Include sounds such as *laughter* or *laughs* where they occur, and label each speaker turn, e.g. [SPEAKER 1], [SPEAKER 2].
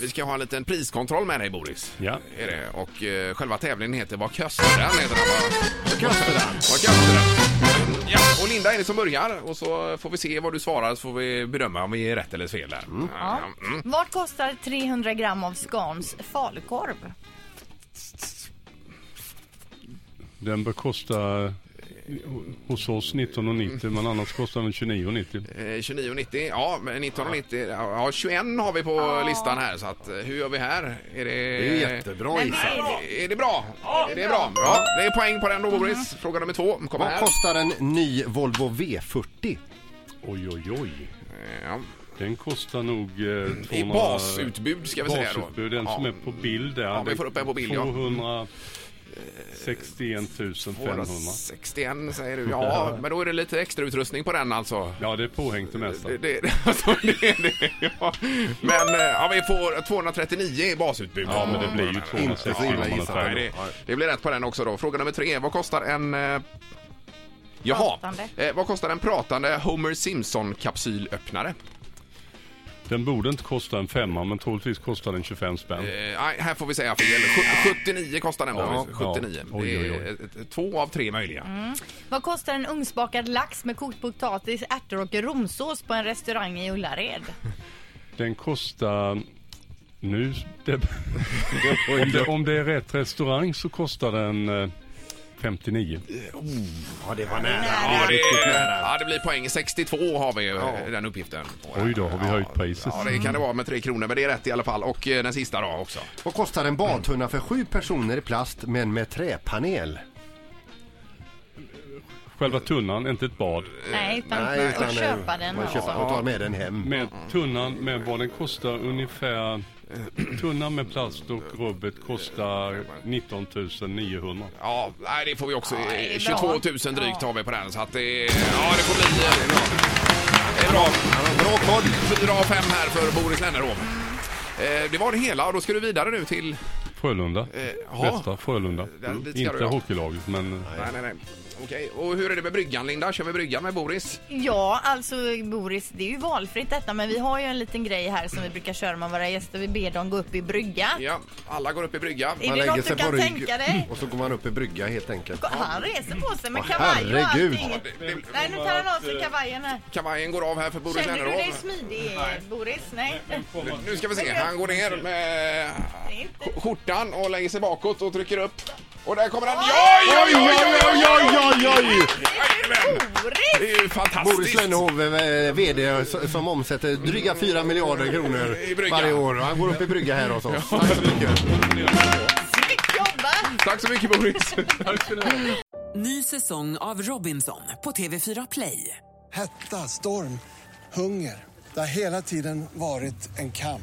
[SPEAKER 1] Vi ska ha en liten priskontroll med dig Boris.
[SPEAKER 2] Ja.
[SPEAKER 1] Är det. Och eh, själva tävlingen heter Vad kostar den? Heter den va?
[SPEAKER 2] Kastrand.
[SPEAKER 1] Vad kostar den? Ja, och Linda är det som börjar och så får vi se vad du svarar så får vi bedöma om vi är rätt eller fel där.
[SPEAKER 3] Ja.
[SPEAKER 1] Ja, mm.
[SPEAKER 3] Vad kostar 300 gram av Scans falukorv?
[SPEAKER 2] Den bör kosta eh, hos oss 19,90 men annars kostar den 29,90.
[SPEAKER 1] Eh, 29,90. Ja, men 19,90. Ja, 21 har vi på listan här så att eh, hur gör vi här? Är det...
[SPEAKER 4] Det är ju jättebra
[SPEAKER 3] Eh, Men
[SPEAKER 4] gissat.
[SPEAKER 3] det är-
[SPEAKER 1] Är det bra? Är det bra? Ja, det är poäng på den då Boris. Fråga nummer två kommer
[SPEAKER 4] Vad
[SPEAKER 1] här.
[SPEAKER 4] kostar en ny Volvo V40?
[SPEAKER 2] Oj, oj, oj.
[SPEAKER 1] Ja.
[SPEAKER 2] Den kostar nog... Eh, 200...
[SPEAKER 1] I basutbud ska vi säga då.
[SPEAKER 2] Basutbud, den som
[SPEAKER 1] Ja.
[SPEAKER 2] är på bild där.
[SPEAKER 1] Ja, vi får upp en på bild, ja.
[SPEAKER 2] 261 500.
[SPEAKER 1] 261 säger du. Ja, men då är det lite extra utrustning på den alltså.
[SPEAKER 2] Ja, det är påhängt det mesta.
[SPEAKER 1] Det, det, *laughs* alltså, det, det, ja. Men eh, ja, vi får 239 i basutbud.
[SPEAKER 2] Ja, men det blir ju
[SPEAKER 4] Inte så
[SPEAKER 2] 260
[SPEAKER 4] illa
[SPEAKER 2] om man har
[SPEAKER 4] gissat.
[SPEAKER 1] Nej, det,
[SPEAKER 2] träd.
[SPEAKER 1] det blir rätt på den också då. Fråga nummer tre. Vad kostar en... Eh, jaha.
[SPEAKER 3] Pratande.
[SPEAKER 1] Eh, vad kostar en pratande Homer Simpson-kapsylöppnare?
[SPEAKER 2] Den borde inte kosta en femma, men troligtvis kostar den 25 spänn.
[SPEAKER 1] Eh, nej, här får vi säga fel. Sju- 79 kostar den.
[SPEAKER 2] Ja,
[SPEAKER 1] Boris. 79.
[SPEAKER 2] ja. Oj, oj, oj. Mm.
[SPEAKER 1] Det är, eh, två av tre möjliga.
[SPEAKER 3] Vad kostar en ugnsbakad lax med kokt potatis, ärtor och romsås på en restaurang i Ullared?
[SPEAKER 2] Den kostar... Nu...
[SPEAKER 1] *laughs*
[SPEAKER 2] Det, om, det, om det är rätt restaurang så kostar den eh, 59.
[SPEAKER 4] Ja, det var nära.
[SPEAKER 1] Ja, det, ja, det blir poäng. 62 har vi eh, den uppgiften.
[SPEAKER 2] Oj då, har vi höjt priset?
[SPEAKER 1] Ja, det kan det vara med tre kronor, men det är rätt i alla fall. Och eh, den sista då också.
[SPEAKER 4] Vad kostar en badtunna för sju personer i plast men med träpanel?
[SPEAKER 2] Själva tunnan, inte ett bad.
[SPEAKER 3] Nej, utan
[SPEAKER 4] utan,
[SPEAKER 3] att
[SPEAKER 4] eh,
[SPEAKER 3] köpa den.
[SPEAKER 4] Man
[SPEAKER 3] alltså.
[SPEAKER 4] köper och tar med den
[SPEAKER 3] Mm.
[SPEAKER 4] hem.
[SPEAKER 2] Med tunnan, med vad den kostar ungefär. Tunnan med plast och rubbet kostar 19 900.
[SPEAKER 1] Ja, nej, det får vi också. eh,
[SPEAKER 3] det är
[SPEAKER 1] 22 000
[SPEAKER 3] bra.
[SPEAKER 1] drygt
[SPEAKER 3] Ja.
[SPEAKER 1] har vi på den, så att det... Ja, det får bli... eh, Det är bra. Bra koll. Fyra av fem här för Boris Lennerholm. Eh, Det var det hela och då ska du vidare nu till...
[SPEAKER 2] Frölunda.
[SPEAKER 1] jaha.
[SPEAKER 2] Bästa Frölunda.
[SPEAKER 1] Där- dit ska du,
[SPEAKER 2] Inte
[SPEAKER 1] ja.
[SPEAKER 2] hockeylaget, men eh,
[SPEAKER 1] Nej, nej, nej. Okej, och hur är det med bryggan Linda? Kör vi bryggan med Boris?
[SPEAKER 3] Ja, alltså Boris, det är ju valfritt detta men vi har ju en liten grej här som vi brukar köra med våra gäster. Vi ber dem gå upp i brygga.
[SPEAKER 1] Ja, alla går upp i brygga.
[SPEAKER 3] Är det något du kan tänka dig?
[SPEAKER 4] och så går man upp i brygga helt enkelt.
[SPEAKER 3] Gå- Han reser på sig med
[SPEAKER 4] Åh,
[SPEAKER 3] kavaj och
[SPEAKER 4] herregud.
[SPEAKER 3] allting.
[SPEAKER 1] Det- det-
[SPEAKER 3] Nej, nu tar han av sig kavajen här.
[SPEAKER 1] Kavajen går av här för Boris
[SPEAKER 3] Känner du dig
[SPEAKER 1] Lennerholm.
[SPEAKER 3] smidig, Boris? Nej.
[SPEAKER 1] Nu ska vi se, han går ner med
[SPEAKER 3] Det är inte-
[SPEAKER 1] skjortan och lägger sig bakåt och trycker upp. Och där kommer han. Oj, oj, oj, oj, oj, oj!
[SPEAKER 4] oj, oj!
[SPEAKER 1] Jajamän!
[SPEAKER 3] Boris!
[SPEAKER 1] Det är ju
[SPEAKER 4] Boris
[SPEAKER 1] fantastiskt.
[SPEAKER 4] Lönnhov, eh, VD, s- som omsätter dryga 4 miljarder
[SPEAKER 1] I
[SPEAKER 4] kronor
[SPEAKER 1] brygga.
[SPEAKER 4] varje år. Han går upp i brygga här hos oss. Tack så mycket.
[SPEAKER 3] Snyggt jobbat!
[SPEAKER 1] Tack så mycket Boris.
[SPEAKER 5] Ny säsong av Robinson på TV4 Play.
[SPEAKER 6] Hetta, storm, hunger. Det har hela tiden varit en kamp.